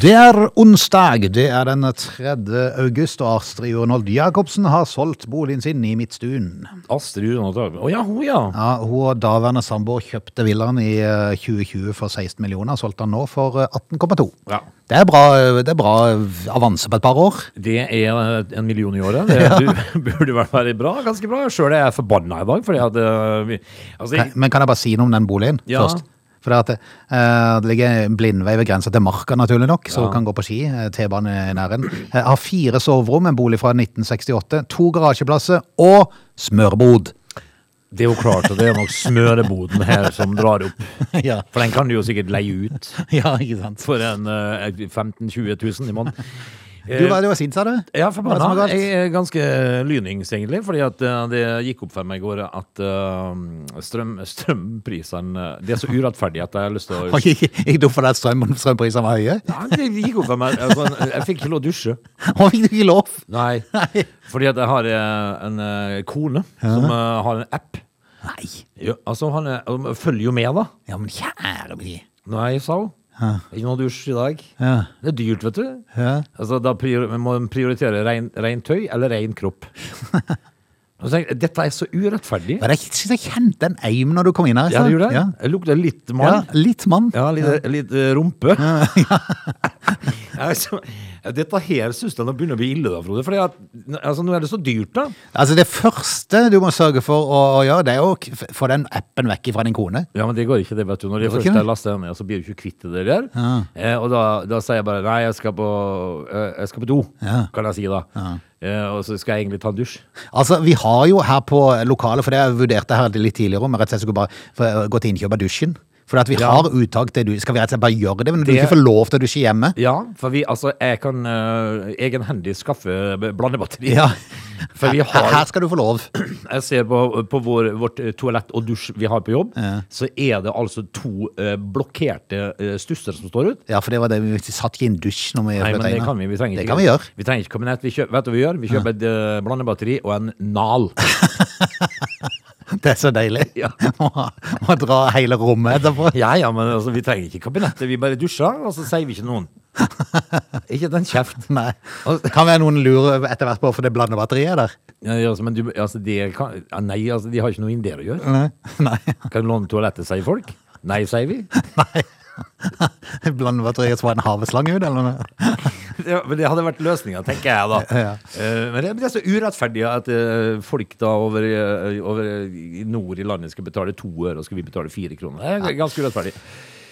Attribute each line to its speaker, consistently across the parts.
Speaker 1: Det er onsdag, det er den 3. august, og Astrid Urnholt Jacobsen har solgt boligen sin i Midtstuen.
Speaker 2: Astrid Unna Dragvold. Å ja, hun, ja.
Speaker 1: Ja, hun og daværende samboer kjøpte villaen i eh, 2020 for 16 millioner, solgte den nå for eh, 18,2.
Speaker 2: ja.
Speaker 1: Det er bra, eh, det er bra avanse på et par år.
Speaker 2: Det er eh, en million i året. Det bu- burde i hvert fall være bra. Ganske bra. Sjøl er jeg forbanna i dag, fordi at eh, vi, altså,
Speaker 1: Kan- Men kan jeg bare si noe om den boligen
Speaker 2: Ja.
Speaker 1: først? For det, at, det, eh, det ligger en blindvei ved grensa til Marka, naturlig nok, så du kan gå på ski. eh, T-bane er i nærheten. Eh, har fire soverom, en bolig fra 1968, to garasjeplasser og smørbod.
Speaker 2: det er jo klart at det er nok smøreboden her som drar opp.
Speaker 1: ja.
Speaker 2: For den kan du jo sikkert leie ut
Speaker 1: ja, ikke sant.
Speaker 2: for en eh, 15 000-20 000 i måneden. Eh,
Speaker 1: Du, hva er det du var sint, sa du? Hva er det
Speaker 2: Ja,
Speaker 1: som
Speaker 2: forbanna.
Speaker 1: er galt?
Speaker 2: Jeg er ganske lynings, egentlig. Fordi at eh, det gikk opp for meg i går at eh, strøm, strømprisene eh, Det er så urettferdig at jeg har lyst til å
Speaker 1: Var ikke ikke dumt for deg at strøm, strømprisene var høye?
Speaker 2: Nei, det gikk opp for meg. Altså, jeg fikk ikke lov å dusje.
Speaker 1: Og fikk du ikke lov?
Speaker 2: Nei. Fordi at jeg har eh, en eh, kone som eh, har en app.
Speaker 1: Nei.
Speaker 2: Jo, altså, han er, han følger jo med, da.
Speaker 1: Ja, men kjære min.
Speaker 2: Nei, sa hun. Ikke noe dusj i dag.
Speaker 1: Ja.
Speaker 2: Det er dyrt, vet du.
Speaker 1: Ja.
Speaker 2: Altså, da prior, vi må prioritere rein, rein tøy eller rein kropp. Og så tenker jeg, Dette er så urettferdig.
Speaker 1: Men jeg synes jeg kjente en eim når du kom inn her.
Speaker 2: Ja,
Speaker 1: altså.
Speaker 2: det gjør det.
Speaker 1: Ja.
Speaker 2: Jeg lukter litt
Speaker 1: Ja,
Speaker 2: mann.
Speaker 1: litt mann.
Speaker 2: Ja, litt, litt eh, rumpe. altså, dette her synes jeg nå begynner å bli ille, da, Frode. For altså, nå er det så dyrt, da.
Speaker 1: Altså Det første du må sørge for å å gjøre, det er å k- få den appen vekk fra din kone.
Speaker 2: Ja, men det går ikke det, vet du. Når jeg
Speaker 1: går
Speaker 2: først
Speaker 1: ikke det?
Speaker 2: er lastet ned, så blir du ikke kvitt det der. Eh, og da, da sier jeg bare, nei, jeg skal på, eh, jeg skal på do,
Speaker 1: Ja.
Speaker 2: kan jeg si da. Eh, og så skal jeg egentlig ta en dusj.
Speaker 1: Altså Vi har jo her på lokalet, for det har jeg vurdert det her litt tidligere, om jeg rett og slett skulle bare få- gå til innkjøp av dusjen. For at vi
Speaker 2: Ja.
Speaker 1: har uttak til dusj. Skal vi rett og slett bare gjøre det? Men du
Speaker 2: Det-
Speaker 1: ikke får lov til å dusje hjemme?
Speaker 2: Ja, for vi, altså, jeg kan eh, egenhendig skaffe b- blandebatteri.
Speaker 1: Ja.
Speaker 2: For vi
Speaker 1: Her, her
Speaker 2: har,
Speaker 1: skal du få lov.
Speaker 2: jeg ser på, på vår, vårt eh, toalett og dusj vi har på jobb, så er det altså to eh, blokkerte eh, stusser som står ut.
Speaker 1: Ja, for det var det vi satt ikke inn dusj når vi
Speaker 2: Nei, men
Speaker 1: flytta
Speaker 2: det
Speaker 1: inn. da.
Speaker 2: kan vi. Vi trenger
Speaker 1: det
Speaker 2: ikke
Speaker 1: kan vi gjøre.
Speaker 2: Vi trenger ikke kabinett. Vi kjøper, vet du hva vi gjør? Vi kjøper et eh, blandebatteri og en nal.
Speaker 1: Det er så deilig.
Speaker 2: Ja.
Speaker 1: Må, må dra hele rommet etterpå.
Speaker 2: Ja, ja, men altså, vi trenger ikke kabinettet. Vi bare dusjer, og så sier vi ikke noen. Ikke den kjeft.
Speaker 1: Nei. Kan være noen lurer etter hvert på hvorfor det blander batteriet der.
Speaker 2: Ja, ja, altså, men du, altså, de kan, ja, nei, altså, de har ikke noe inn der å gjøre.
Speaker 1: Nei. Nei.
Speaker 2: Kan du låne toalettet, sier folk. Nei, sier vi.
Speaker 1: Blander batteriet så var det en haveslange ut, eller noe?
Speaker 2: Ja, men det hadde vært løsninga, tenker jeg da.
Speaker 1: Ja.
Speaker 2: Eh, men det, men det er så urettferdig at eh, folk da over, eh, over i nord i landet skal betale to øre, og skal vi betale fire kroner. Det er ganske urettferdig.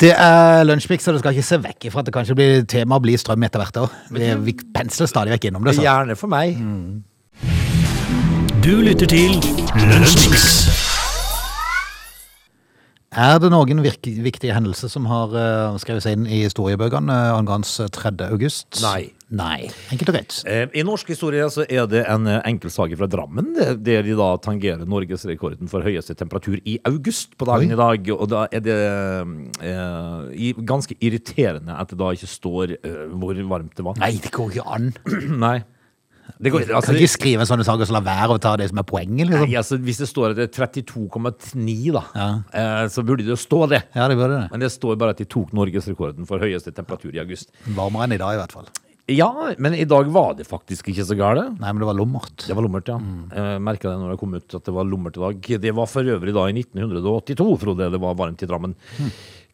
Speaker 1: Det er lunsjmix, så du skal ikke se vekk ifra at det kanskje blir tema blir strøm etter hvert år. Vi, vi pensler stadig vekk innom det. Så.
Speaker 2: Gjerne for meg.
Speaker 3: Du lytter til Lunsjmix.
Speaker 1: Er det noen virk, viktige hendelser som har eh, skrevet seg inn i historiebøkene eh, angående 3. august?
Speaker 2: Nei.
Speaker 1: Nei. Enkelt og greit.
Speaker 2: Eh, I norsk historie så er det en eh, enkel sage fra Drammen, det- der de da tangerer norgesrekorden for høyeste temperatur i august på
Speaker 1: Oi.
Speaker 2: dagen i dag. Og da er det eh, i- ganske irriterende at det da ikke står eh, hvor varmt det var.
Speaker 1: Nei, det går ikke an.
Speaker 2: Nei. Det går, altså,
Speaker 1: Kan ikke skrive en sånn sak og så la være å ta det som er poenget, liksom.
Speaker 2: nei, altså, hvis det står at det er 32,9, da, eh, så burde det jo stå det.
Speaker 1: Ja, det burde det.
Speaker 2: Men det står bare at de tok norgesrekorden for høyeste temperatur i august.
Speaker 1: Varmere enn i dag, i hvert fall.
Speaker 2: Ja, men i dag var det faktisk ikke så gale.
Speaker 1: Nei, men det var lummert.
Speaker 2: Det var lummert, ja. Jeg merka det når jeg kom ut at det var lummert i dag. Det var for øvrig da i 1982, Frode. Det var varmt i Drammen.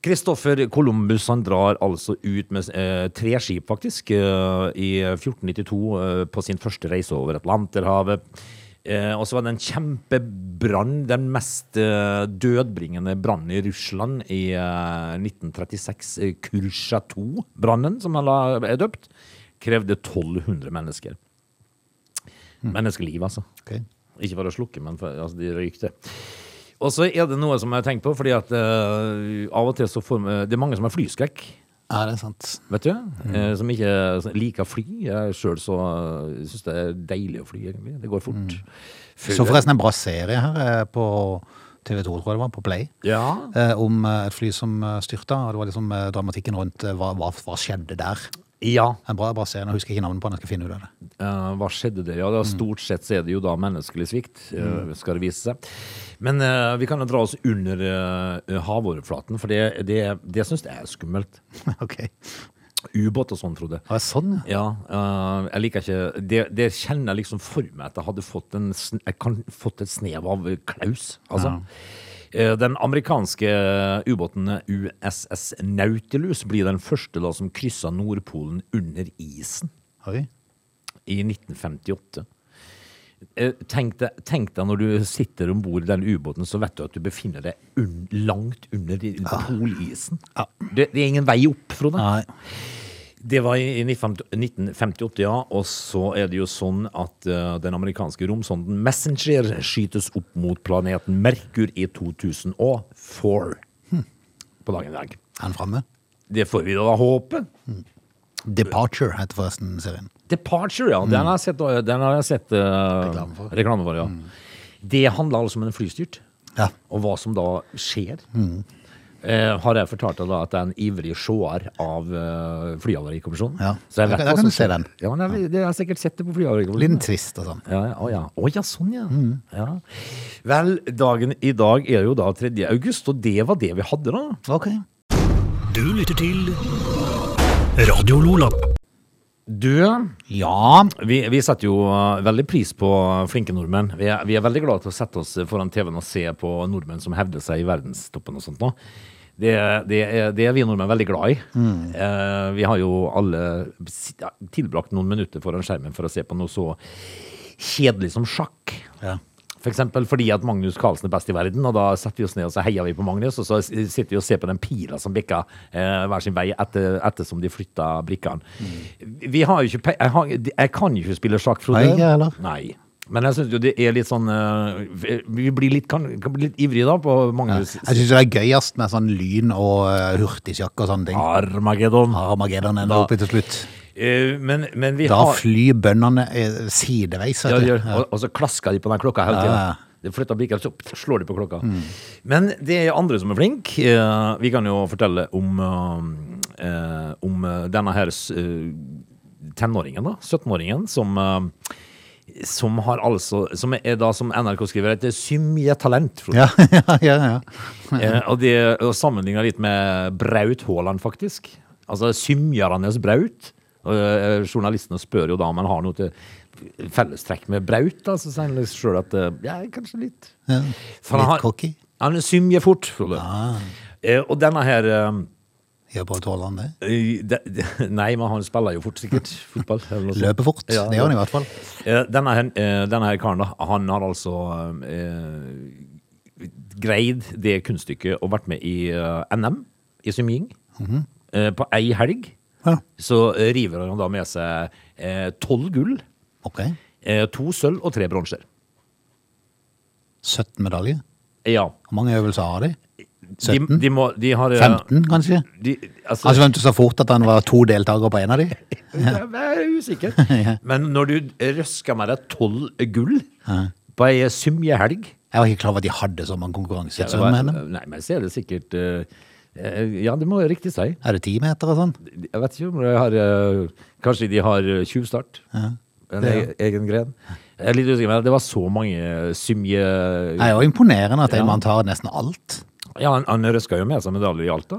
Speaker 2: Kristoffer Columbus han drar altså ut med eh, tre skip, faktisk, eh, i 1492 eh, på sin første reise over Atlanterhavet. Eh, og så var det en kjempebrann, den mest eh, dødbringende brannen i Russland i eh, 1936. Eh, Kursjatov-brannen, som han la- er døpt, krevde 1200 mennesker. Menneskeliv, altså.
Speaker 1: Ok.
Speaker 2: Ikke for å slukke, men for, altså, de røykte. Og så er det noe som jeg har tenkt på, fordi at eh, av og til så får vi Det er mange som har flyskrekk,
Speaker 1: Ja, det er sant.
Speaker 2: vet du. eh, som ikke s- liker fly. Jeg sjøl så uh, syns det er deilig å fly, egentlig. Det går fort. Før-
Speaker 1: Så forresten en bra serie her eh, på TV 2, tror jeg det var, på Play.
Speaker 2: Ja.
Speaker 1: eh, om eh, et fly som eh, styrta, og det var liksom eh, dramatikken rundt eh, hva, hva, hva skjedde der.
Speaker 2: Ja.
Speaker 1: En bra, bra scene, jeg husker ikke navnet på den, jeg skal finne ut av det.
Speaker 2: Eh, hva skjedde der? Ja, det er stort sett så er det jo da menneskelig svikt, eh, skal det vise seg. Men eh, vi kan jo dra oss under eh, havoverflaten, for det, det, det syns jeg er skummelt.
Speaker 1: ok.
Speaker 2: Ubåt og sånn, Frode.
Speaker 1: Å, sånn, ja.
Speaker 2: Ja, eh, jeg liker ikke det, det kjenner jeg liksom for meg at jeg hadde fått, en, sn- jeg kan, fått et snev av Klaus, altså. Eh, Den amerikanske ubåten USS Nautilus blir den første da som krysset Nordpolen under isen
Speaker 1: Oi.
Speaker 2: i 1958. Eh, Tenk deg, tenk deg når du sitter om bord i den ubåten, så vet du at du befinner deg un langt under i- polisen. Det, det er ingen vei opp, Frode.
Speaker 1: Nei.
Speaker 2: Det var i i 1958, ja. Og så er det jo sånn at eh, den amerikanske romsonden Messenger skytes opp mot planeten Merkur i 2004.
Speaker 1: Hm.
Speaker 2: På dagen i dag.
Speaker 1: Er han framme?
Speaker 2: Det får vi da håpe.
Speaker 1: Departure heter forresten serien.
Speaker 2: Departure, ja. Den har jeg sett, øh, den har jeg sett øh,
Speaker 1: Hm. Reklame for. Hm.
Speaker 2: reklame for. Ja. Det handler altså om en flystyrt,
Speaker 1: Ja.
Speaker 2: og hva som da skjer.
Speaker 1: Mm.
Speaker 2: Eh, har jeg fortalt deg da at jeg er en ivrig seer av uh, Flyhavarikommisjonen?
Speaker 1: Ja.
Speaker 2: Så jeg
Speaker 1: Der kan-
Speaker 2: vet hva
Speaker 1: der kan
Speaker 2: som
Speaker 1: du se
Speaker 2: skjer.
Speaker 1: den.
Speaker 2: Ja, men jeg, det har jeg sikkert sett det på Flyhavarikommisjonen.
Speaker 1: Liten twist og sånn.
Speaker 2: Ja, ja, å ja. Å ja, sånn ja.
Speaker 1: Mm.
Speaker 2: ja. Vel, dagen i dag er jo da 3. august, og det var det vi hadde da.
Speaker 1: Ok.
Speaker 3: Du lytter til Radio Lola.
Speaker 2: Du,
Speaker 1: Ja.
Speaker 2: Vi, vi setter jo eh, veldig pris på flinke nordmenn. Vi er, vi er veldig glad til å sette oss foran TV-en og se på nordmenn som hevder seg i verdenstoppen og sånt nå. Det, det, er, det er vi nordmenn veldig glad i. Eh, vi har jo alle s- ja, tilbrakt noen minutter foran skjermen for å se på noe så kjedelig som sjakk.
Speaker 1: Ja.
Speaker 2: For eksempel fordi at Magnus Carlsen er best i verden, og da setter vi oss ned og så heier vi på Magnus, og så s- sitter vi og ser på den pila som bikka eh, hver sin vei etter, ettersom de flytta brikkene. Vi har jo ikke pe jeg, har, jeg kan jo ikke spille sjakk,
Speaker 1: Mm.
Speaker 2: Frode.
Speaker 1: Nei, ikke jeg heller.
Speaker 2: Nei. Men jeg syns jo det er litt sånn eh, Vi blir litt, kan, kan bli litt ivrige da på Magnus.
Speaker 1: Jeg syns det er gøyest med sånn lyn og eh, hurtigsjakk og sånne ting.
Speaker 2: Armageddon.
Speaker 1: Armageddon ender
Speaker 2: Da-
Speaker 1: opp i til slutt.
Speaker 2: Eh, men, men vi
Speaker 1: Da
Speaker 2: har
Speaker 1: flyr bøndene eh, sideveis. vet
Speaker 2: Ja, det
Speaker 1: du.
Speaker 2: gjør. det. Og, og så klasker de på den klokka hele
Speaker 1: Ja, ja.
Speaker 2: tiden. De flytter blikket, så slår de på klokka. Men det er andre som er flink. Eh, Vi kan jo fortelle om, eh, eh, om eh, denne her s- eh, tenåringen, da. 17-åringen som eh, som har altså Som er da, som NRK skriver, et symjetalent. Frode.
Speaker 1: Ja, ja, ja, ja.
Speaker 2: Eh, og det og sammenlignet litt med Braut Haaland, faktisk. Altså Symjarandes Braut. Og, eh, journalistene spør jo da om han har noe til fellestrekk med Braut. Da, så sier han sjøl at eh, ja, kanskje litt.
Speaker 1: ja.
Speaker 2: For han
Speaker 1: Litt
Speaker 2: har-
Speaker 1: cocky.
Speaker 2: Han symjer fort. Frode. Eh, og denne her
Speaker 1: Gjør bare tålende det.
Speaker 2: eh, de, de, Nei, men han spiller jo fort, sikkert. Fotball. eller noe sånt.
Speaker 1: Løper fort.
Speaker 2: Ja,
Speaker 1: det gjør han i hvert fall.
Speaker 2: Eh, Denne, her- eh, denne her karen, da, han har altså eh, greid det kunststykket og vært med i eh, NM i symjing.
Speaker 1: Mhm.
Speaker 2: Eh, på ei helg
Speaker 1: Ja.
Speaker 2: så eh, river han da med seg eh, tolv gull,
Speaker 1: Ok.
Speaker 2: eh, to sølv og tre bronser.
Speaker 1: 17 medaljer.
Speaker 2: Ja.
Speaker 1: Hvor mange øvelser har de?
Speaker 2: De,
Speaker 1: 17?
Speaker 2: de må, de har, eh,
Speaker 1: 15, kanskje?
Speaker 2: De, altså,
Speaker 1: Han svømte så fort at han var to deltakere på en av de.
Speaker 2: Jeg er usikker. Men når du røsker med deg tolv gull på ei symjehelg
Speaker 1: Jeg var ikke klar over at de hadde så mange konkurranser.
Speaker 2: det
Speaker 1: i
Speaker 2: var-
Speaker 1: svøm, mener jeg.
Speaker 2: Nei, men så er det sikkert eh, eh, Ja, det må jeg riktig si.
Speaker 1: Er det ti meter og sånn?
Speaker 2: Jeg vet ikke om de har eh, Kanskje de har eh, tjuvstart? En
Speaker 1: Det,
Speaker 2: e- egen gren? Jeg er litt usikker, men det var så mange symje...
Speaker 1: Det er jo imponerende at
Speaker 2: Ja.
Speaker 1: en mann tar nesten alt.
Speaker 2: Ja, han, han røska jo med seg medaljer i alt, da.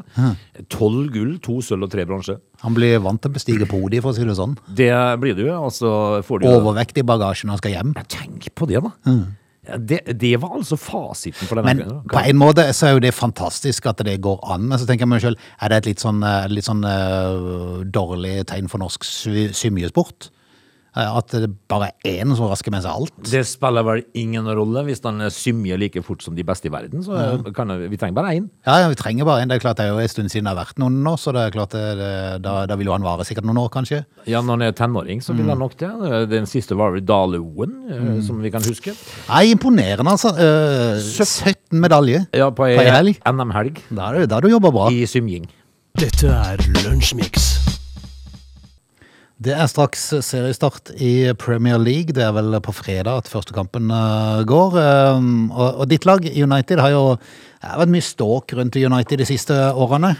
Speaker 2: Tolv gull, to sølv og tre bronse.
Speaker 1: Han blir vant til å bestige podiet, for å si det sånn.
Speaker 2: Det blir det jo, og så får du jo
Speaker 1: Overvekt i bagasjen når han skal hjem.
Speaker 2: Ja, Tenk på det, da. Ja, Det, det var altså fasiten for denne
Speaker 1: Men på en måte så er jo det fantastisk at det går an. Men så tenker jeg meg selv, er det et litt sånn, eh, litt sånn eh, dårlig tegn for norsk sy- symjesport? Eh, At det bare er én som rasker med seg alt?
Speaker 2: Det spiller vel ingen rolle. Hvis han symjer like fort som de beste i verden, så kan vi trenger bare én.
Speaker 1: Ja, ja, vi trenger bare en. Det er klart det er jo en stund siden det har vært noen nå, så det er klart det, det, da, da vil jo han vare sikkert noen år, kanskje.
Speaker 2: Ja, når han er tenåring, så vil han nok det. Den siste var vel Daloen, mm. som vi kan huske.
Speaker 1: Nei, imponerende, altså. Eh, 17 medaljer
Speaker 2: Ja, på ei
Speaker 1: ei helg.
Speaker 2: NM-helg
Speaker 1: Da er du- da har du jobba bra.
Speaker 2: i symjing.
Speaker 3: Dette er Lunsjmix.
Speaker 1: Det er straks seriestart i Premier League. Det er vel på fredag at første kampen eh, går. Um, og, og ditt lag, United, har jo det har vært mye ståk rundt United de siste årene.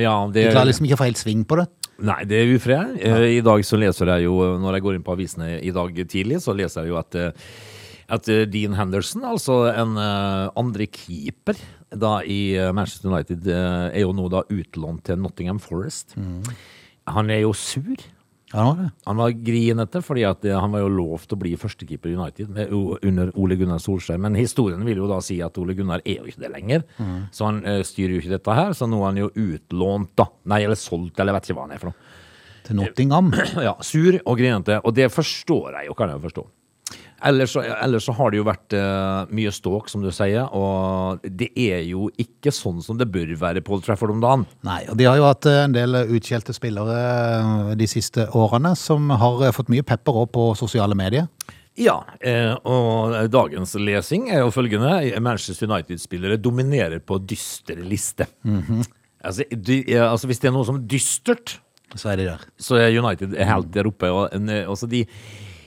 Speaker 2: Ja,
Speaker 1: De
Speaker 2: det
Speaker 1: klarer liksom ikke å få helt sving på det.
Speaker 2: Nei, det er ufred. Eh, I dag så leser jeg jo, når jeg går inn på avisene i dag tidlig, så leser jeg jo at, eh, at eh, Dean Henderson, altså en eh, andre keeper da i eh, Manchester United, eh, er jo nå da utlånt til Nottingham Forest. Han er jo sur.
Speaker 1: Ja, nå er det.
Speaker 2: Han var grinete, fordi at eh, han var jo lovt å bli førstekeeper i United med, o- under Ole Gunnar Solskjær. Men historien vil jo da si at Ole Gunnar er jo ikke det lenger. Så han eh, styrer jo ikke dette her, så nå er han jo utlånt, da. Nei, eller solgt, eller vet ikke hva han er for noe
Speaker 1: Til Nottingham.
Speaker 2: ja, sur og grinete, og det forstår jeg jo, kan jeg jo forstå. Ellers, så- ellers så har det jo vært eh, mye ståk, som du sier, og det er jo ikke sånn som det bør være på Old Trafford om dagen.
Speaker 1: Nei, og de har jo hatt eh, en del utskjelte spillere eh, de siste årene, som har eh, fått mye pepper òg på sosiale medier.
Speaker 2: Ja, eh, og dagens lesing er jo følgende. Manchester United-spillere dominerer på dyster liste. altså, de, eh, altså, hvis det er noe som er dystert,
Speaker 1: Så er de der.
Speaker 2: så er United helt der oppe. Og, en, eh, altså de,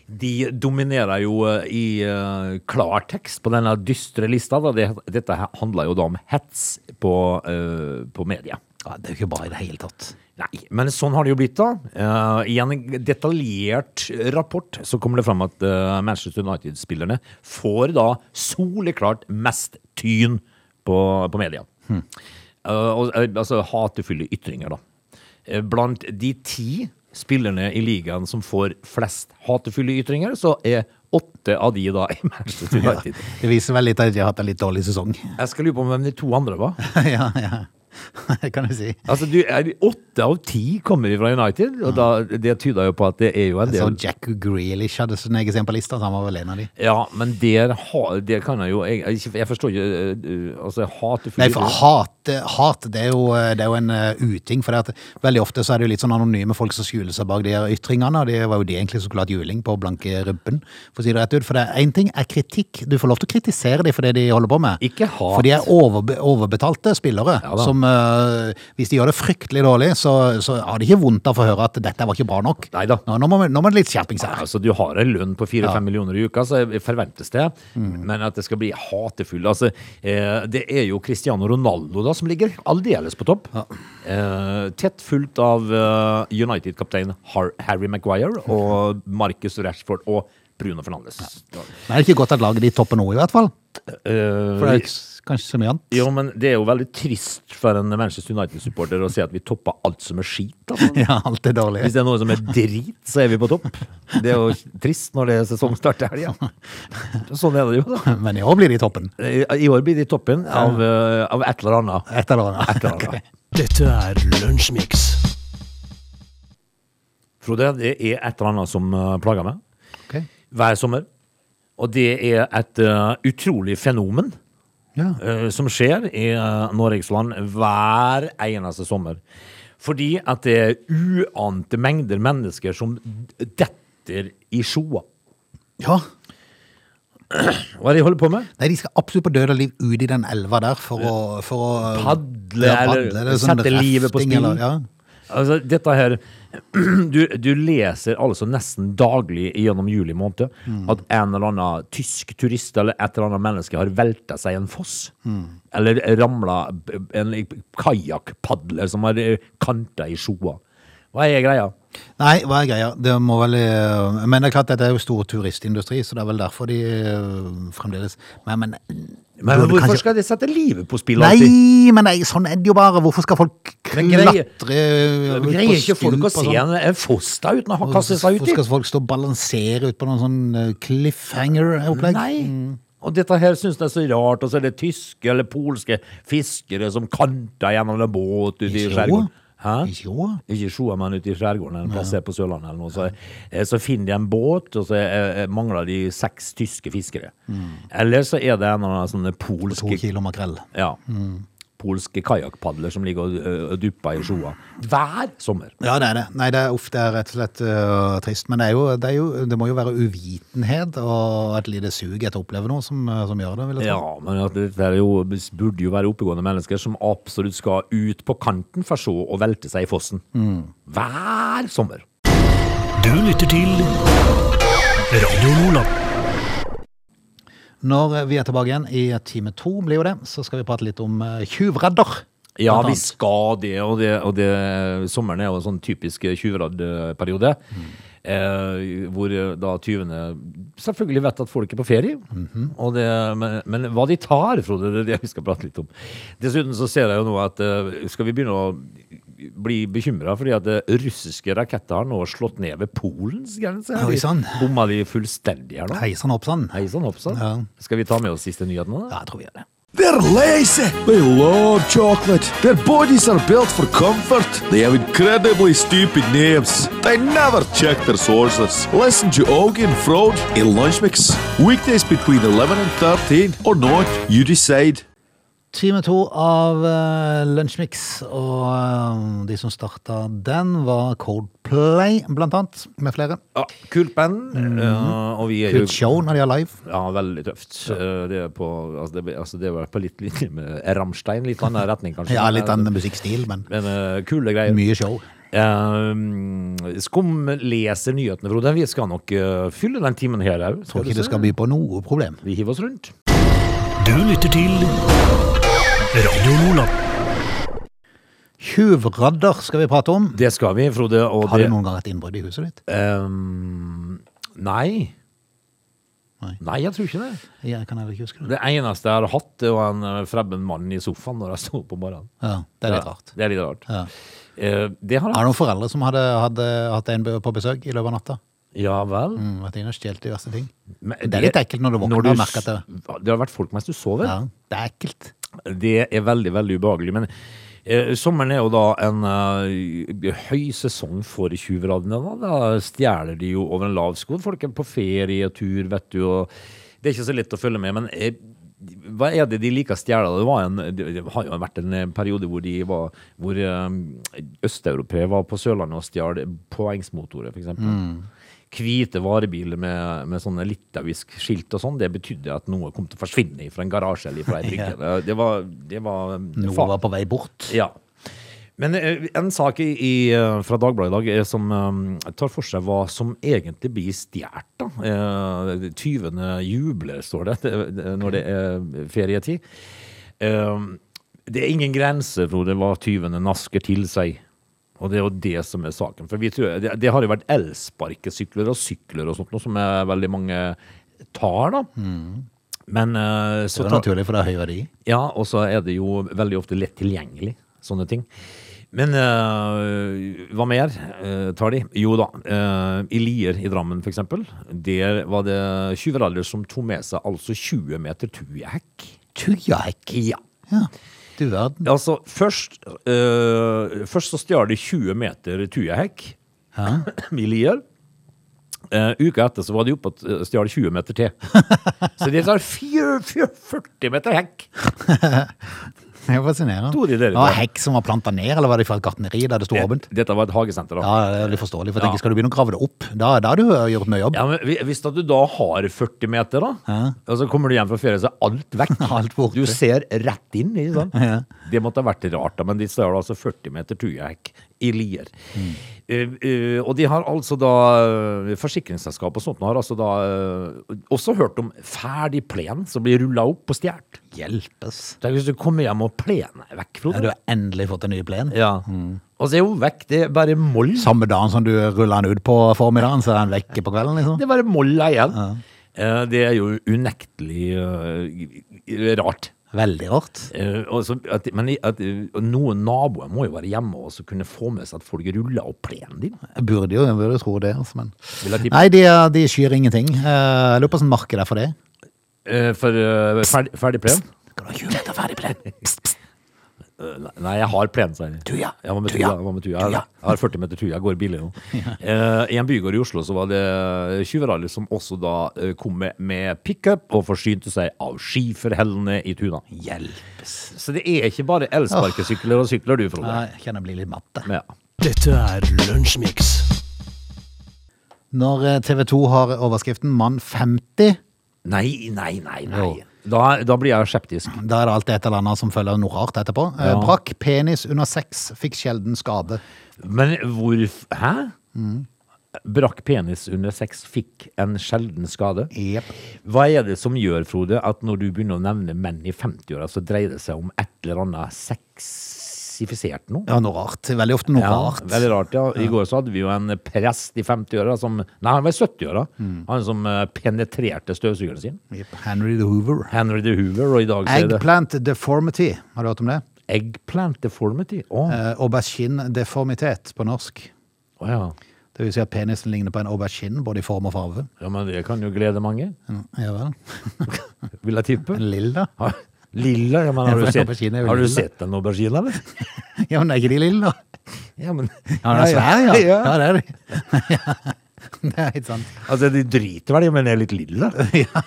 Speaker 2: de dominerer jo eh, i eh, klartekst på denne dystre lista. Da. Det, dette her handler jo da om hets på, eh, på media.
Speaker 1: Ja, det er jo ikke bra i det hele tatt.
Speaker 2: Nei, men sånn har det jo blitt da. Eh, I en detaljert rapport så kommer det fram at eh, Manchester United-spillerne får da soleklart mest tyn på, på media. Eh, og, eh, altså hatefulle ytringer, da. Eh, Blant de ti spillerne i ligaen som får flest hatefulle ytringer, så er åtte av de da i Manchester
Speaker 1: Ja,
Speaker 2: United.
Speaker 1: det viser vel litt at de har hatt en litt dårlig sesong.
Speaker 2: Jeg skal lure på hvem de to andre var.
Speaker 1: ja, ja. Det kan du si.
Speaker 2: Altså, du, er, Åtte av ti kommer fra United, og da, det tyder jo på at det er sånn jo en
Speaker 1: Så
Speaker 2: del
Speaker 1: Jack Grealish hadde sin egen på lista, så han var vel en av de.
Speaker 2: Ja, men der, ha- der kan jeg jo Jeg, jeg, ikke- jeg forstår ikke eh, eh, Altså, jeg hater
Speaker 1: Nei, for hat, hat det, er jo, det er jo en eh, uting. For det at, veldig ofte så er det jo litt sånn anonyme folk som skjuler seg bak de her ytringene. Og det var jo de egentlig som skulle hatt juling på blanke rumpen. For å si det rett ut. For én ting er kritikk. Du får lov til å kritisere dem for det de holder på med.
Speaker 2: Ikke hat.
Speaker 1: For de er overbe overbetalte spillere.
Speaker 2: Ja da.
Speaker 1: som eh, hvis de gjør det fryktelig dårlig, så, så har de ikke vondt av å få høre at dette var ikke bra nok.
Speaker 2: Nei da.
Speaker 1: Nå, nå, må, vi- nå må det litt skjerpings her.
Speaker 2: Altså, du har en lønn på 4-5 millioner i uka, så forventes det.
Speaker 1: Mm.
Speaker 2: Men at det skal bli hatefull altså, eh, Det er jo Cristiano Ronaldo da, som ligger aldeles på topp. Eh, tett fulgt av eh, United-kaptein Har Harry Maguire og Marcus Rashford og Bruno Fernandes.
Speaker 1: Men det er ikke godt at laget de topper nå, i hvert fall.
Speaker 2: Eh,
Speaker 1: For det er ikke, s- kanskje så mye annet.
Speaker 2: Jo, men det er jo veldig trist for en Manchester United-supporter å se at vi topper alt som er skit. Altså.
Speaker 1: Ja, alt er dårlig.
Speaker 2: Hvis det er noe som er drit, så er vi på topp. Det er jo trist når det er sesongstart til helga. Sånn er det jo, da.
Speaker 1: Men i år blir de i toppen.
Speaker 2: I år blir de i toppen av, eh, av et eller annet.
Speaker 1: Et eller annet.
Speaker 2: Et eller annet.
Speaker 3: Dette er Lunsjmix.
Speaker 2: Frode, det er et eller annet som eh, plager meg
Speaker 1: Ok.
Speaker 2: hver sommer. Og det er et eh, utrolig fenomen
Speaker 1: Ja.
Speaker 2: eh, som skjer i eh, Norges land hver eneste sommer. Fordi at det er uante mengder mennesker som d- detter i sjoa.
Speaker 1: ja.
Speaker 2: Hva er det de holder på med?
Speaker 1: Nei, de skal absolutt på død og liv ut i den elva der for å, for å
Speaker 2: Padle,
Speaker 1: ja,
Speaker 2: eller
Speaker 1: det er sånn
Speaker 2: sette livet på
Speaker 1: rafting,
Speaker 2: spill.
Speaker 1: eller- ja.
Speaker 2: Altså, dette her du, du leser altså nesten daglig gjennom juli måned at en eller annen tysk turist eller et eller annet menneske har velta seg i en foss. Eller ramla b- en kajakkpadler som har kanta i sjoa. Hva er greia?
Speaker 1: Nei, hva er greia? Det må vel eh, Men det er klart, dette er jo stor turistindustri, så det er vel derfor de eh, fremdeles Men, men,
Speaker 2: Men
Speaker 1: burde
Speaker 2: hvorfor
Speaker 1: kanskje-
Speaker 2: skal de sette livet på spill alltid?
Speaker 1: Nei, men nei, sånn er det jo bare. Hvorfor skal folk
Speaker 2: Men greier-
Speaker 1: klatre eh, ut
Speaker 2: Greier
Speaker 1: på
Speaker 2: ikke folk å
Speaker 1: stup og
Speaker 2: se
Speaker 1: sånn?
Speaker 2: en, en foss da uten å ha kastet seg
Speaker 1: Hvorfor
Speaker 2: uti?
Speaker 1: skal folk stå og balansere ut på noen sånn eh, cliffhanger-opplegg?
Speaker 2: Nei. Mm. Og dette her syns jeg er så rart. Og så er det tyske eller polske fiskere som kanter gjennom en båt ute i
Speaker 1: Ikke
Speaker 2: skjærgården.
Speaker 1: sjå?
Speaker 2: Hæ?
Speaker 1: Ikke sjå?
Speaker 2: Ikke sjå, men ute i skjærgården en plass her på Sørlandet eller noe. Så, eh, så finner de en båt, og så eh, eh, mangler de seks tyske fiskere. Eller så er det en av sånne
Speaker 1: Mm. To
Speaker 2: polske
Speaker 1: kilo Mm. makrell.
Speaker 2: ja, polske kajakkpadler som ligger og, eh, og dupper i sjøa. Hver sommer.
Speaker 1: Ja, det er det. Nei, det er, uff, det er rett og slett øh, trist. Men det, er jo, det, er jo, det må jo være uvitenhet og et lite sug etter å oppleve noe som, øh, som gjør det. vil jeg tro.
Speaker 2: Ja, men at dette er jo, burde jo være oppegående mennesker som absolutt skal ut på kanten for så å velte seg i fossen.
Speaker 1: Mm.
Speaker 2: Hver sommer.
Speaker 3: Du lytter til Radio Lola.
Speaker 1: Når vi er tilbake igjen i time to, blir jo det, så skal vi prate litt om øh, eh, tjuvredder.
Speaker 2: Ja,
Speaker 1: blant
Speaker 2: vi
Speaker 1: annet.
Speaker 2: skal det, og, det, og det, sommeren er jo en sånn typisk tjuvradperiode. Eh, hvor eh, da tyvene selvfølgelig vet at folk er på ferie.
Speaker 1: Mhm.
Speaker 2: og det, men, men hva de tar, Frode, det er det vi skal prate litt om. Dessuten så ser jeg jo nå at eh, skal vi begynne å bli bekymra fordi at eh, russiske raketter har nå slått ned ved Polens grense? her.
Speaker 1: Oi,
Speaker 2: De
Speaker 1: sann.
Speaker 2: Bomma de fullstendig her nå?
Speaker 1: Hei sann, hopp sann.
Speaker 2: Hei sann, hopp sann.
Speaker 1: Ja.
Speaker 2: Skal vi ta med oss siste nyheten nå? da?
Speaker 1: Ja, jeg tror vi gjør det.
Speaker 4: They're lazy. They love chocolate. Their bodies are built for comfort. They have incredibly stupid names. They never check their sources. Listen to Augie and Frode in Lunch Mix. Weekdays between 11 and 13 or not, you decide.
Speaker 1: Time to av uh, Lunsjmix, og eh, de som starta den, var Coldplay, blant annet, med flere.
Speaker 2: Ja, kult band.
Speaker 1: Mhm.
Speaker 2: eh, og vi er jo
Speaker 1: Kult show når de er live.
Speaker 2: Ja, veldig tøft. Eh, Det er på, altså det, altså det var på litt linje med Rammstein, litt annen retning kanskje.
Speaker 1: Ja, litt annen musikkstil, men
Speaker 2: Men eh, kule greier.
Speaker 1: mye show.
Speaker 2: Eh, skum leser nyhetene, Frode. Vi skal nok eh, fylle den timen her òg.
Speaker 1: Tror ikke det skal by på noe problem.
Speaker 2: Vi hiver oss rundt.
Speaker 3: Du lytter til Radio Nordland.
Speaker 1: Tjuvradder skal vi prate om.
Speaker 2: Det skal vi, Frode. Og
Speaker 1: Har
Speaker 2: det
Speaker 1: du noen gang hatt innbrudd i huset ditt?
Speaker 2: eh, nei.
Speaker 1: Nei.
Speaker 2: Nei, jeg tror ikke det.
Speaker 1: Jeg kan heller ikke huske det.
Speaker 2: Det eneste jeg har hatt, det var en eh, fremmed mann i sofaen når jeg sto opp om morgenen.
Speaker 1: Ja, det er litt
Speaker 2: Ja,
Speaker 1: rart.
Speaker 2: Det er litt rart.
Speaker 1: Ja.
Speaker 2: Eh, det har
Speaker 1: Er det
Speaker 2: jeg.
Speaker 1: noen foreldre som hadde, hadde hatt en på besøk i løpet av natta?
Speaker 2: Ja vel.
Speaker 1: Mm, vært inne og stjålet diverse ting?
Speaker 2: Men
Speaker 1: Det er litt ekkelt når du våkner og merker at det-
Speaker 2: s- det har vært folk mens du sover.
Speaker 1: Ja, det er ekkelt.
Speaker 2: Det er veldig, veldig ubehagelig. Men eh, sommeren er jo da en eh, høy sesong for tjuvradene. Da. da stjeler de jo over en lav sko. Folk er på ferietur, vet du. Og det er ikke så lett å følge med. Men eh, hva er det de liker å stjele? Det, var en, det det har jo vært en eh, periode hvor, de var, hvor eh, østeuropeere var på Sørlandet og stjal påhengsmotorer, f.eks. Hvite varebiler med, med sånne litauisk skilt og sånn, det betydde at noe kom til å forsvinne fra en garasje eller fra ei brygge. Det- Det var, det var um,
Speaker 1: Noe
Speaker 2: fa-
Speaker 1: var på vei bort.
Speaker 2: Ja. Men eh, en sak i, i, eh, fra Dagbladet i dag eh, som eh, tar for seg hva som egentlig blir stjålet. da. Eh, Tyvene jubler, står det, det- det- når det er ferietid. Eh, Det er ingen grense, Frode, hva tyvene nasker til seg. Og det er jo det som er saken. For vi tror, det, det har jo vært elsparkesykler og sykler og sånt, noe som er veldig mange tar, da. Men eh,
Speaker 1: Det
Speaker 2: så
Speaker 1: er
Speaker 2: tar-
Speaker 1: naturlig, for det er høy verdi.
Speaker 2: ja, og så er det jo veldig ofte lett tilgjengelig, sånne ting. Men eh, hva mer eh, tar de? Jo da, eh, i Lier i Drammen for eksempel, der var det tjuveraller som tok med seg altså 20 meter tujehekk.
Speaker 1: Tujahekk.
Speaker 2: Ja.
Speaker 1: Ja. Du verden.
Speaker 2: Altså, først, eh, først så stjal de 20 meter tujehekk
Speaker 1: Ja.
Speaker 2: i Lier. Eh, uka etter så var de oppe og stjal 20 meter til. Så de tar fire- fire- 40 meter hekk.
Speaker 1: Det er fascinerende.
Speaker 2: Tror de det er det?
Speaker 1: Var det hekk som var planta ned, eller var det fra et gartneri der det sto åpent?
Speaker 2: Dette var et hagesenter da.
Speaker 1: Ja, det er litt forståelig, for jeg
Speaker 2: Ja.
Speaker 1: tenker, skal du begynne å grave det opp? Da, da har du gjort mye jobb.
Speaker 2: Ja, men hvi- Hvis at du da har 40 meter, da, og så kommer du hjem fra ferie, så er alt vekk.
Speaker 1: Alt borte.
Speaker 2: Du ser rett inn. Ikke sant?
Speaker 1: Ja.
Speaker 2: Det måtte ha vært rart, da, men de står altså 40 meter tujehekk i Lier.
Speaker 1: Mm.
Speaker 2: Eh, eh, og de har altså da eh, Forsikringsselskap og sånt har altså da eh, også hørt om ferdig plen som blir rulla opp og stjålet.
Speaker 1: Hjelpes.
Speaker 2: Tenk hvis du kommer hjem og plenen er vekk,
Speaker 1: Ja, du
Speaker 2: Frode.
Speaker 1: har endelig fått en ny plen.
Speaker 2: Ja. Og så er hun vekk. Det er bare moll.
Speaker 1: Samme dagen som du ruller den ut på formiddagen, så er den vekke på kvelden, liksom.
Speaker 2: Det er bare molla igjen. Eh, Det er jo unektelig eh, rart.
Speaker 1: Veldig rart.
Speaker 2: Eh, og så at, men i- at, eh, noen naboer må jo være hjemme og så kunne få med seg at folk ruller opp plenen din.
Speaker 1: Jeg burde jo, jeg burde tro det, altså, men...
Speaker 2: Vil jeg tippe.
Speaker 1: Nei, de, er- de skyr ingenting. Eh, Jeg lurer på hvordan markedet er for det.
Speaker 2: Eh, for eh, ferdig, ferdig plen?
Speaker 1: Kan du ha 20 meter ferdig plen? Pst, pst.
Speaker 2: Eh, nei- nei, jeg har plen, sier jeg.
Speaker 1: Tuja.
Speaker 2: Ja, hva med
Speaker 1: Tuja.
Speaker 2: tuja? Hva med tuja? Jeg, har- jeg har 40 meter tuja, jeg går billig nå. Eh, I en bygård i Oslo så var det tjuveraller som også da eh, kom med, med pickup og forsynte seg av skiferhellene i tuna.
Speaker 1: Hjelpes.
Speaker 2: Så det er ikke bare elsparkesykler og sykler du, Frode.
Speaker 1: Nei, jeg kjenner jeg blir litt matte.
Speaker 2: Ja.
Speaker 3: Dette er Lunsjmix.
Speaker 1: Når eh, TV 2 har overskriften «Mann 50»,
Speaker 2: Nei, nei, nei, nei.
Speaker 1: Jo.
Speaker 2: Da, da blir jeg skeptisk.
Speaker 1: Da er det alltid et eller annet som følger noe rart etterpå. Eh,
Speaker 2: Ja.
Speaker 1: Brakk penis under sex, fikk sjelden skade.
Speaker 2: Men hvorf... Hæ? Mm. Brakk penis under sex, fikk en sjelden skade.
Speaker 1: Jep.
Speaker 2: Hva er det som gjør, Frode, at når du begynner å nevne menn i 50-åra, så dreier det seg om et eller annet sex klassifisert noe.
Speaker 1: Ja, noe rart. Veldig ofte noe rart.
Speaker 2: Veldig rart, ja. I går så hadde vi jo en prest i 50-åra som Nei, han var i 70-åra. Han som eh, penetrerte støvsugeren sin.
Speaker 1: Yep. Henry the Hoover.
Speaker 2: Henry the Hoover, og i dag så er det
Speaker 1: Eggplant deformity, har du hørt om det?
Speaker 2: Eggplant deformity. Å,
Speaker 1: Eh, aubergine deformitet på norsk.
Speaker 2: å ja.
Speaker 1: Det vil si at penisen ligner på en aubergine, både i form og farve.
Speaker 2: ja. Men det kan jo glede mange,
Speaker 1: Mm, Ja vel.
Speaker 2: vil jeg tippe.
Speaker 1: En lilla?
Speaker 2: Ha, Lilla? Ja, men
Speaker 1: Ja,
Speaker 2: har
Speaker 1: for
Speaker 2: du
Speaker 1: en
Speaker 2: sett,
Speaker 1: aubergine er jo
Speaker 2: har du
Speaker 1: lilla.
Speaker 2: sett en aubergine, eller?
Speaker 1: Ja, men er ikke de lilla?
Speaker 2: Ja, men
Speaker 1: Ja,
Speaker 2: ja,
Speaker 1: svær, ja.
Speaker 2: ja.
Speaker 1: Ja, det er de. Ja. Det er helt sant.
Speaker 2: Altså, de driter vel i om den er litt lilla.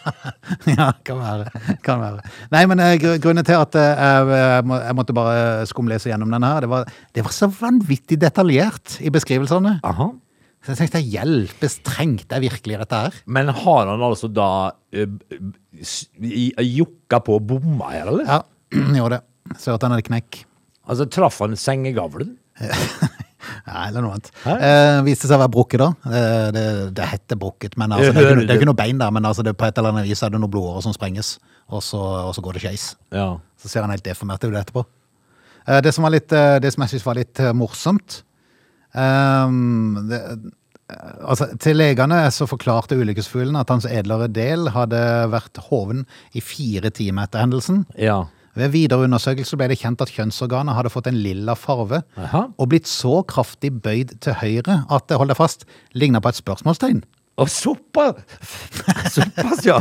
Speaker 1: Ja, kan være. Kan være. Nei, men eh, gru- grunnen til at eh, jeg, må- jeg måtte bare eh, skumlese gjennom denne her, det var, det var så vanvittig detaljert i beskrivelsene.
Speaker 2: Aha.
Speaker 1: Så jeg tenkte, hjelpes trengt det er virkelig dette her?
Speaker 2: Men har han altså da ø, b- s- i- jokka på og bomma her, eller?
Speaker 1: Ja, gjorde det. Så at han hadde knekk.
Speaker 2: Altså, traff han sengegavlen?
Speaker 1: Nei, eller noe annet.
Speaker 2: Hæ?
Speaker 1: Eh, viste seg å være brukket, da. Eh, det, det heter brukket, men altså, det, er ikke, noe- det er ikke noe bein der. Men altså, det, på et eller annet vis er det noen blodårer som sånn sprenges, og så, og så går det skeis.
Speaker 2: Ja.
Speaker 1: Så ser han helt deformert ut etterpå. Eh, det, som var litt, eh, det som jeg syns var litt eh, morsomt ehm, det, eh, altså, Til legene så forklarte ulykkesfuglen at hans edlere del hadde vært hoven i fire timer etter hendelsen.
Speaker 2: Ja.
Speaker 1: Ved videre undersøkelse ble det kjent at kjønnsorganet hadde fått en lilla farve
Speaker 2: Aha.
Speaker 1: og blitt så kraftig bøyd til høyre at det, hold deg fast, lignet på et spørsmålstegn.
Speaker 2: Og såpass! Såpass, ja.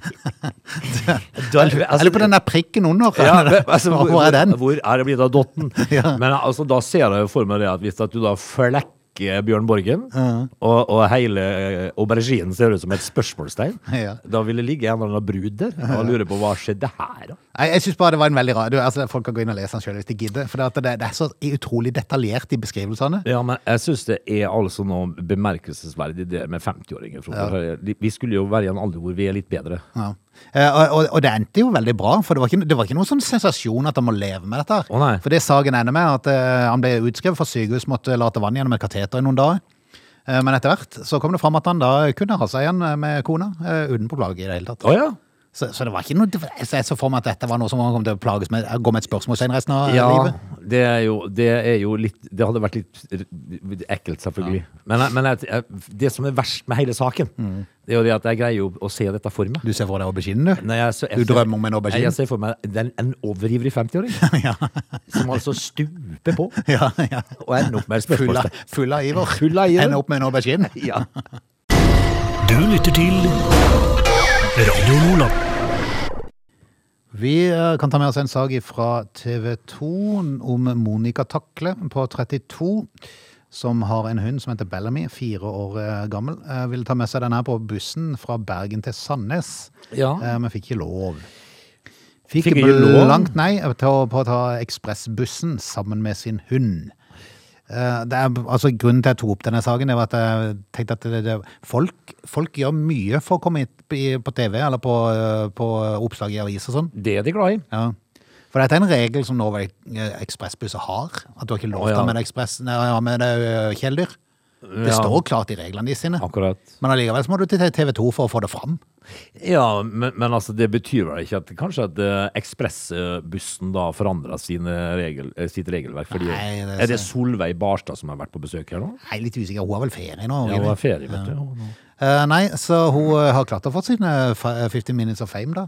Speaker 2: Da- altså-
Speaker 1: Eller på den der prikken under.
Speaker 2: Ja, men, altså, hvor,
Speaker 1: hvor er den?
Speaker 2: Hvor er det blitt av dotten?
Speaker 1: Ja.
Speaker 2: Men altså, da ser jeg jo for meg det at hvis at du da flekker Bjørn Borgen, og, og hele eh, auberginen ser ut som et spørsmålstegn,
Speaker 1: Ja.
Speaker 2: da vil det ligge en eller annen brud der og lure på hva skjedde her, da?
Speaker 1: Nei, jeg synes bare det var en veldig rar du, altså, Folk kan gå inn og lese den selv hvis de gidder. For det, at det, det er så utrolig detaljert i beskrivelsene.
Speaker 2: Ja, men jeg syns det er altså noe bemerkelsesverdig det med 50-åringer. Frode. De- Vi skulle jo være i en alder hvor vi er litt bedre.
Speaker 1: Ja. Eh, og, og, og det endte jo veldig bra, for det var ikke, det var ikke noen sånn sensasjon at han må leve med dette. her.
Speaker 2: Å, nei.
Speaker 1: for det saken ender med, at eh, han ble utskrevet fra sykehus, måtte late vann gjennom et kateter i noen dager. Eh, men etter hvert så kom det fram at han da kunne ha seg igjen med kona, eh, uten på plage i det hele tatt.
Speaker 2: Å ja?
Speaker 1: Så, så det var ikke noe, det var- så jeg så for meg at dette var noe som han kom til å plages med, gå med et spørsmålstegn resten av
Speaker 2: Ja,
Speaker 1: livet.
Speaker 2: det er, jo, det er jo litt Det hadde vært litt r- ekkelt, selvfølgelig. Men, jeg- men jeg- jeg- det som er verst med hele saken,
Speaker 1: Mm.
Speaker 2: det er jo det at jeg greier jo å se dette for meg.
Speaker 1: Du ser for deg auberginen, du.
Speaker 2: Når jeg så- jeg
Speaker 1: Du
Speaker 2: ser-
Speaker 1: drømmer om en aubergine?
Speaker 2: Jeg ser for meg den, en overivrig 50-åring
Speaker 1: ja,
Speaker 2: som altså stuper på
Speaker 1: ja, ja.
Speaker 2: og ender opp med et
Speaker 1: Full av,
Speaker 2: spørsmålstegn.
Speaker 1: full av iver.
Speaker 2: Full av iver.
Speaker 1: Ender opp med en aubergine.
Speaker 2: Ja.
Speaker 3: Du lytter til Radio Nordland.
Speaker 1: Vi eh, kan ta med oss en sak fra TV 2 om Monica Takle på 32, som har en hund som heter Bellamy, fire år eh, gammel. Eh, Ville ta med seg den her på bussen fra Bergen til Sandnes,
Speaker 2: Ja.
Speaker 1: eh, men fikk ikke lov.
Speaker 2: Fikk ikke lov?
Speaker 1: Langt nei til å på å ta ekspressbussen sammen med sin hund. Eh, Det er, altså, grunnen til at jeg tok opp denne saken, det var at jeg tenkte at det, det, folk, folk gjør mye for å komme hit i- på TV eller på, eh, på oppslag i avis og sånn.
Speaker 2: Det er de glad i.
Speaker 1: Ja. For dette er en regel som Norway eh, Ekspressbusser har. At du har ikke lov
Speaker 2: Å,
Speaker 1: til
Speaker 2: ja.
Speaker 1: å ha med deg ekspress- nei, ha med deg eh, kjæledyr. Det
Speaker 2: Ja.
Speaker 1: står klart i reglene de sine.
Speaker 2: Akkurat.
Speaker 1: Men allikevel så må du til TV 2 for å få det fram.
Speaker 2: Ja, men, men altså, det betyr vel ikke at kanskje at eh, ekspressbussen da forandra regel, eh, sitt regelverk? Fordi,
Speaker 1: Nei, det er
Speaker 2: er det
Speaker 1: så-
Speaker 2: Solveig Barstad som har vært på besøk her nå?
Speaker 1: Jeg er litt usikker. Hun har vel ferie nå?
Speaker 2: Ja,
Speaker 1: Gini?
Speaker 2: det var ferie, vet du. og nå-
Speaker 1: Eh, nei, så hun eh, har klart å få sine fa- 50 Minutes of Fame, da.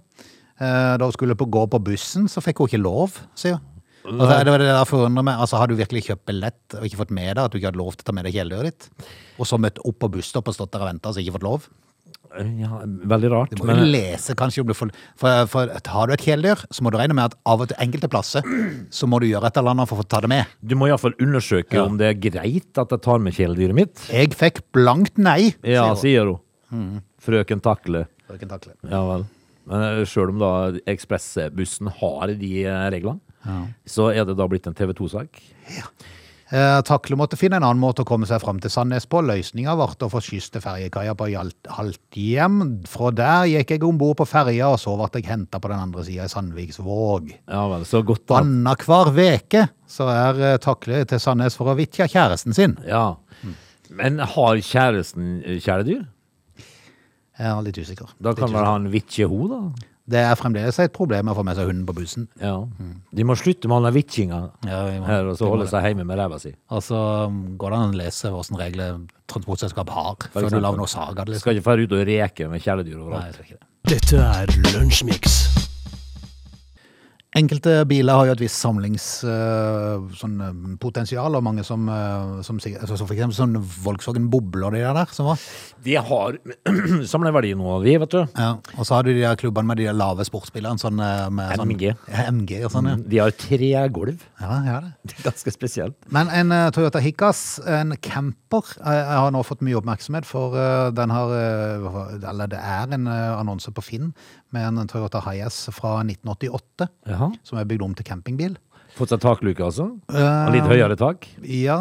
Speaker 1: Eh, da hun skulle på, gå på bussen, så fikk hun ikke lov, sier hun. Og så er det var det der forundrer meg. Altså, har du virkelig kjøpt billett og ikke fått med deg at du ikke hadde lov til å ta med deg kjæledyret ditt? Og så møtt opp på busstopp og stått der og venta og så ikke fått lov?
Speaker 2: Ja, veldig rart.
Speaker 1: Du må jo
Speaker 2: Men,
Speaker 1: lese kanskje om du får for, for har du et kjæledyr, så må du regne med at av og til enkelte plasser så må du gjøre et eller annet for å få ta det med.
Speaker 2: du må iallfall undersøke
Speaker 1: Ja.
Speaker 2: om det er greit at jeg tar med kjæledyret mitt.
Speaker 1: Jeg fikk blankt nei,
Speaker 2: Ja,
Speaker 1: sier hun.
Speaker 2: sier hun.
Speaker 1: Mm.
Speaker 2: Frøken Takle.
Speaker 1: Frøken Takle.
Speaker 2: Ja vel. Men sjøl om da ekspressbussen har de eh, reglene,
Speaker 1: Ja.
Speaker 2: så er det da blitt en TV 2-sak.
Speaker 1: Eh, takle måtte finne en annen måte å komme seg fram til Sandnes på. Løsninga ble å få skyss til ferjekaia på Hjalt- Halthjem. Fra der gikk jeg om bord på ferja, og så ble jeg henta på den andre sida i Sandviksvåg.
Speaker 2: Ja vel, så godt da.
Speaker 1: Annenhver veke så er eh, Takle til Sandnes for å vitje kjæresten sin.
Speaker 2: Ja.
Speaker 1: Mm.
Speaker 2: Men har kjæresten eh, kjæledyr?
Speaker 1: Jeg er litt usikker.
Speaker 2: Da kan vel han vitje ho, da?
Speaker 1: Det er fremdeles et problem å få med seg hunden på bussen.
Speaker 2: Ja. De må slutte med alle vitkinga
Speaker 1: Mm. Ja, vi må-
Speaker 2: her, og
Speaker 1: vi
Speaker 2: så
Speaker 1: må
Speaker 2: holde
Speaker 1: det.
Speaker 2: seg hjemme med ræva si.
Speaker 1: Og så um, går det an å lese hvilke regler transportselskap har, før du
Speaker 2: eksempel.
Speaker 1: lager noe saga. Liksom.
Speaker 2: Skal ikke dra ut og reke med kjæledyr
Speaker 1: Nei,
Speaker 2: overalt.
Speaker 1: jeg tror ikke det.
Speaker 3: Dette er Lunsjmix.
Speaker 1: Enkelte biler har jo et visst samlingspotensial, sånn, eh, potensial, og mange som, eh, som sier- altså, som for eksempel sånn Volkswagen Boble og de der, der som var.
Speaker 2: De har samleverdi nå, vi, vet du.
Speaker 1: Ja. Og så har du de der klubbene med de der lave sportsbilene, sånn eh, med sånn,
Speaker 2: MG.
Speaker 1: Ja, MG og sånn, ja.
Speaker 2: De har tre gulv.
Speaker 1: ja, ja det.
Speaker 2: Det er ganske spesielt.
Speaker 1: Men en eh, Toyota Hikas, en camper, eh, har nå fått mye oppmerksomhet, for eh, den har eh, Eller det er en eh, annonse på Finn med en Toyota Hiace fra 1988,
Speaker 2: Jaha.
Speaker 1: som er bygd om til campingbil.
Speaker 2: Fått seg takluke, altså. Og litt høyere tak.
Speaker 1: Ja,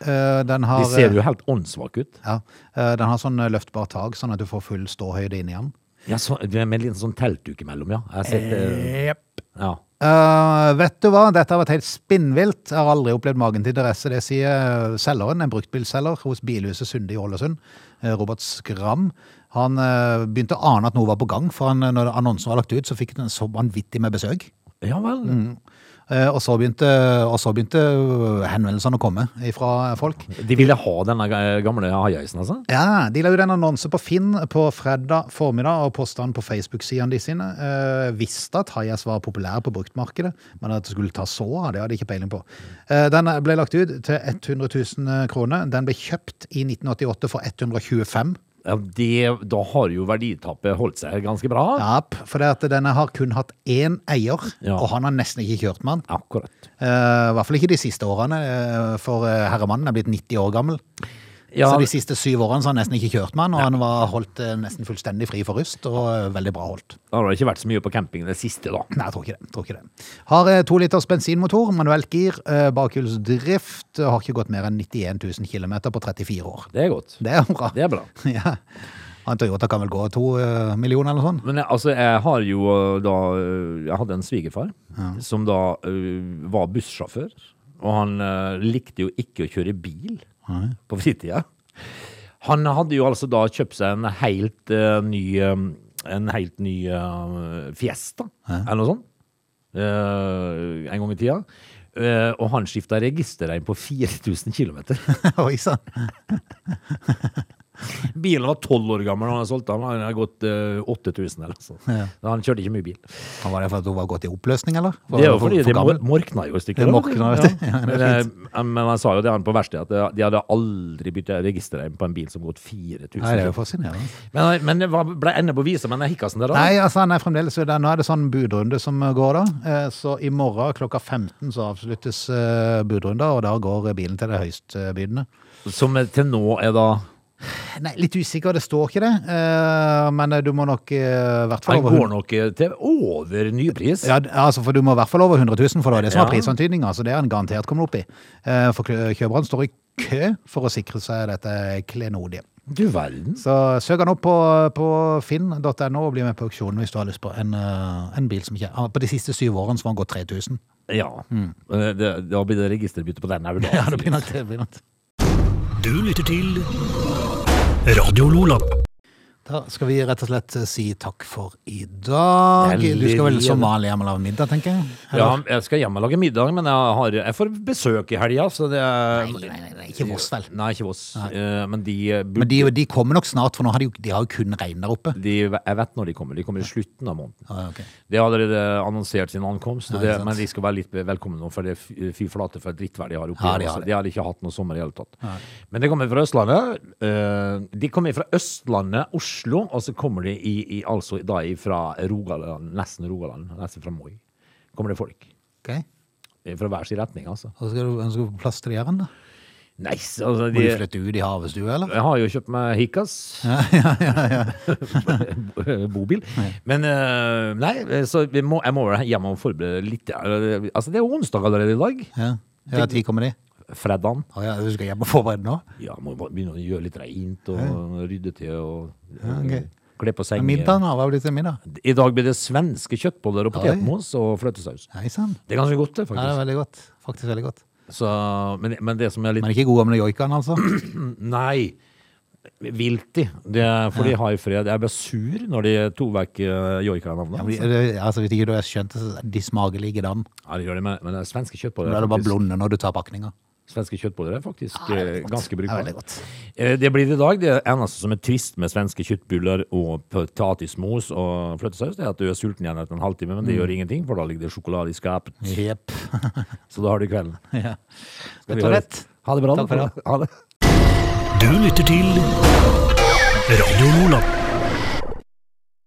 Speaker 1: eh, den har
Speaker 2: De
Speaker 1: eh,
Speaker 2: ser jo helt åndssvake ut.
Speaker 1: Ja, eh, den har sånn eh, løftbar tak, sånn at du får full ståhøyde inn i den.
Speaker 2: Ja, så, det er med en liten sånn teltduk imellom, ja. Jeg har sett, eh, ja.
Speaker 1: Eh, vet du hva, dette har vært helt spinnvilt. Jeg har aldri opplevd magen til interesse. Det sier selgeren, en bruktbilselger hos Bilhuset Sunde i Ålesund, eh, Robert Skram. Han eh, begynte å ane at noe var på gang, for han, eh, når annonsen var lagt ut, så fikk den så vanvittig med besøk.
Speaker 2: ja vel.
Speaker 1: Eh, og, så begynte, og så begynte eh, henvendelsene å komme fra folk.
Speaker 2: De ville ha denne ga- eh, gamle haieisen, altså?
Speaker 1: Ja, de la ut en annonse på Finn på fredag formiddag og posta den på Facebook-sidene de sine. Eh, visste at Hayas var populær på bruktmarkedet, men at det skulle ta så av, det hadde de ikke peiling på. Eh, den ble lagt ut til 100 000 kroner. Den ble kjøpt i 1988 for 125
Speaker 2: Ja, det- da har jo verditappet holdt seg ganske bra.
Speaker 1: ja, For det at denne har kun hatt én eier,
Speaker 2: Ja.
Speaker 1: og han har nesten ikke kjørt med den.
Speaker 2: Akkurat.
Speaker 1: Eh, I hvert fall ikke de siste årene, eh, for eh, herremannen er blitt 90 år gammel.
Speaker 2: Ja,
Speaker 1: Så de siste syv årene så har han nesten ikke kjørt med han, og han var holdt eh, nesten fullstendig fri for rust, og eh, veldig bra holdt.
Speaker 2: Da har det ikke vært så mye på camping det siste, da.
Speaker 1: Nei, jeg tror ikke det. Tror ikke det. Har eh, to liters bensinmotor, manuelt gir, eh, bakhjulsdrift, eh, har ikke gått mer enn 91 000 km på 34 år.
Speaker 2: Det er godt.
Speaker 1: Det er bra.
Speaker 2: Det er bra.
Speaker 1: Ja. Han Toyota kan vel gå to eh, millioner eller sånn?
Speaker 2: Men jeg, altså, jeg har jo øh, da øh, Jeg hadde en svigerfar som da øh, var bussjåfør. Og han øh, likte jo ikke å kjøre bil på fritida. Han hadde jo altså da kjøpt seg en helt øh, ny øh, En helt ny øh, Fiesta, eller noe sånt, øh, en gang i tida. Eh, og han skifta registerregn på 4000 km.
Speaker 1: Oi sann.
Speaker 2: Bilen var tolv år gammel da han solgte den. Han hadde gått eh, 8000 eller noe sånt. Så Han kjørte ikke mye bil.
Speaker 1: Var det for at hun var gått i oppløsning, eller? Var
Speaker 2: Det er jo
Speaker 1: hun for-
Speaker 2: fordi
Speaker 1: for
Speaker 2: det mor
Speaker 1: gammel?
Speaker 2: morkna jo i stykker.
Speaker 1: Det
Speaker 2: da.
Speaker 1: morkna, vet du.
Speaker 2: Ja.
Speaker 1: Ja, det er
Speaker 2: Men, eh, men han sa jo det han på verkstedet, at det- de hadde aldri bytta registerregn på en bil som gått 4000
Speaker 1: Nei, det er jo fascinerende.
Speaker 2: Men, men det var- ble enda på visa med den hikkasen der, da?
Speaker 1: Nei, altså han er fremdeles der. Nå er det sånn budrunde som går da. Eh, Så i morgen klokka 15 så avsluttes eh, budrunden, og da går bilen til det høystbydende.
Speaker 2: Som eh, til nå er da
Speaker 1: Nei, litt usikker, det står ikke det. Eh, Men eh, du må nok eh, i hvert fall
Speaker 2: Han
Speaker 1: over
Speaker 2: går
Speaker 1: 100
Speaker 2: nok eh, til over nypris.
Speaker 1: ja, d- altså, for du må i hvert fall over 100 000, for det er det som
Speaker 2: Ja.
Speaker 1: er prisantydninga. Så det er han garantert kommet opp i. Eh, For kø- kjøperen står i kø for å sikre seg dette klenodiet.
Speaker 2: Du verden.
Speaker 1: Så søk han opp på, på finn.no og bli med på auksjonen hvis du har lyst på en, eh, en bil som ikke ah, På de siste syv årene så har han gått 3000.
Speaker 2: Ja. Eh, Det, da blir det registerbytte på den òg, da.
Speaker 1: Mm. Ja, det blir nok det. blir nok det.
Speaker 3: Du lytter til Radio Lola.
Speaker 1: Da skal vi rett og slett eh, si takk for i dag.
Speaker 2: Veldig
Speaker 1: Du skal vel
Speaker 2: videre.
Speaker 1: som vanlig hjem og lage middag, tenker jeg?
Speaker 2: Ja, jeg skal hjem og lage middag, men jeg, har, jeg får besøk i helga, så det er
Speaker 1: Nei, nei, nei, nei, ikke Voss, vel?
Speaker 2: Nei, ikke Voss. Eh, Men de,
Speaker 1: Men de, de kommer nok snart, for nå har de, jo- de har jo kun regn der oppe.
Speaker 2: de Jeg vet når de kommer. De kommer i slutten av måneden.
Speaker 1: Ah, ok.
Speaker 2: De har allerede annonsert sin ankomst, og
Speaker 1: Ja,
Speaker 2: det,
Speaker 1: ikke sant.
Speaker 2: men de skal være litt velkomne nå, for det er fy fy flate for et drittvær de har oppe.
Speaker 1: Ja,
Speaker 2: her,
Speaker 1: de har
Speaker 2: altså.
Speaker 1: det.
Speaker 2: de har ikke hatt noe sommer i det hele tatt. Men de kommer fra Østlandet. eh, De kommer fra Østlandet, Oslo, og så kommer de i, i, altså da fra Rogaland, nesten Rogaland, nesten fra Moi. Kommer det folk.
Speaker 1: Ok.
Speaker 2: eh, Fra hver sin retning, altså.
Speaker 1: Og så skal du, skal du få plass til de her, da?
Speaker 2: Nei, altså
Speaker 1: Må
Speaker 2: de,
Speaker 1: du flytte ut i havestue, eller?
Speaker 2: Jeg har jo kjøpt meg Hikas. Bobil. Men eh, nei, så vi må, jeg må vel hjem og forberede litt. eh, Altså, det er jo onsdag allerede i dag.
Speaker 1: Ja, ja tid kommer de.
Speaker 2: Fredagen.
Speaker 1: Å ja, du skal hjem og forberede nå?
Speaker 2: Ja, må bare begynne å gjøre litt reint og rydde til og ja,
Speaker 1: ok.
Speaker 2: kle på
Speaker 1: Men
Speaker 2: sengen.
Speaker 1: Middagen, da? Hva blir det til middag?
Speaker 2: I dag blir det svenske kjøttboller og
Speaker 1: Oi.
Speaker 2: potetmos og fløtesaus.
Speaker 1: Hei sann.
Speaker 2: Det er ganske godt, det,
Speaker 1: Ja, det
Speaker 2: faktisk.
Speaker 1: er veldig godt. Faktisk veldig godt.
Speaker 2: Så, men, men det som er litt
Speaker 1: Men ikke god gamle joikaen, altså?
Speaker 2: Nei. viltig. Det er, for de har i fred. Jeg ble sur når de tok vekk eh, joika-navnet.
Speaker 1: Fordi, eh, Altså, hvis ikke du har skjønt det, så er de smaker likedan.
Speaker 2: Ja, det gjør de, men- men det er svenske
Speaker 1: Da
Speaker 2: kjøttboller
Speaker 1: er
Speaker 2: er
Speaker 1: du bare
Speaker 2: faktisk,
Speaker 1: blonde når du tar pakninga.
Speaker 2: svenske kjøttboller er faktisk
Speaker 1: Ja, Ah, det er
Speaker 2: eh,
Speaker 1: veldig godt.
Speaker 2: ganske
Speaker 1: Det er
Speaker 2: brukbare.
Speaker 1: veldig godt.
Speaker 2: Eh, Det blir i dag. Det eneste som er trist med svenske kjøttbuller og potatismos og fløtesaus, det er at du er sulten igjen etter en halvtime,
Speaker 1: Mm.
Speaker 2: men det gjør ingenting, for da ligger det sjokolade i skapet.
Speaker 1: Jepp.
Speaker 2: Så da har du kvelden.
Speaker 1: Ja.
Speaker 2: Skal vi
Speaker 1: Rett og
Speaker 2: høre-
Speaker 1: slett.
Speaker 2: Ha det bra.
Speaker 1: Takk for
Speaker 2: da.
Speaker 1: det.
Speaker 2: Ha det.
Speaker 3: Du lytter til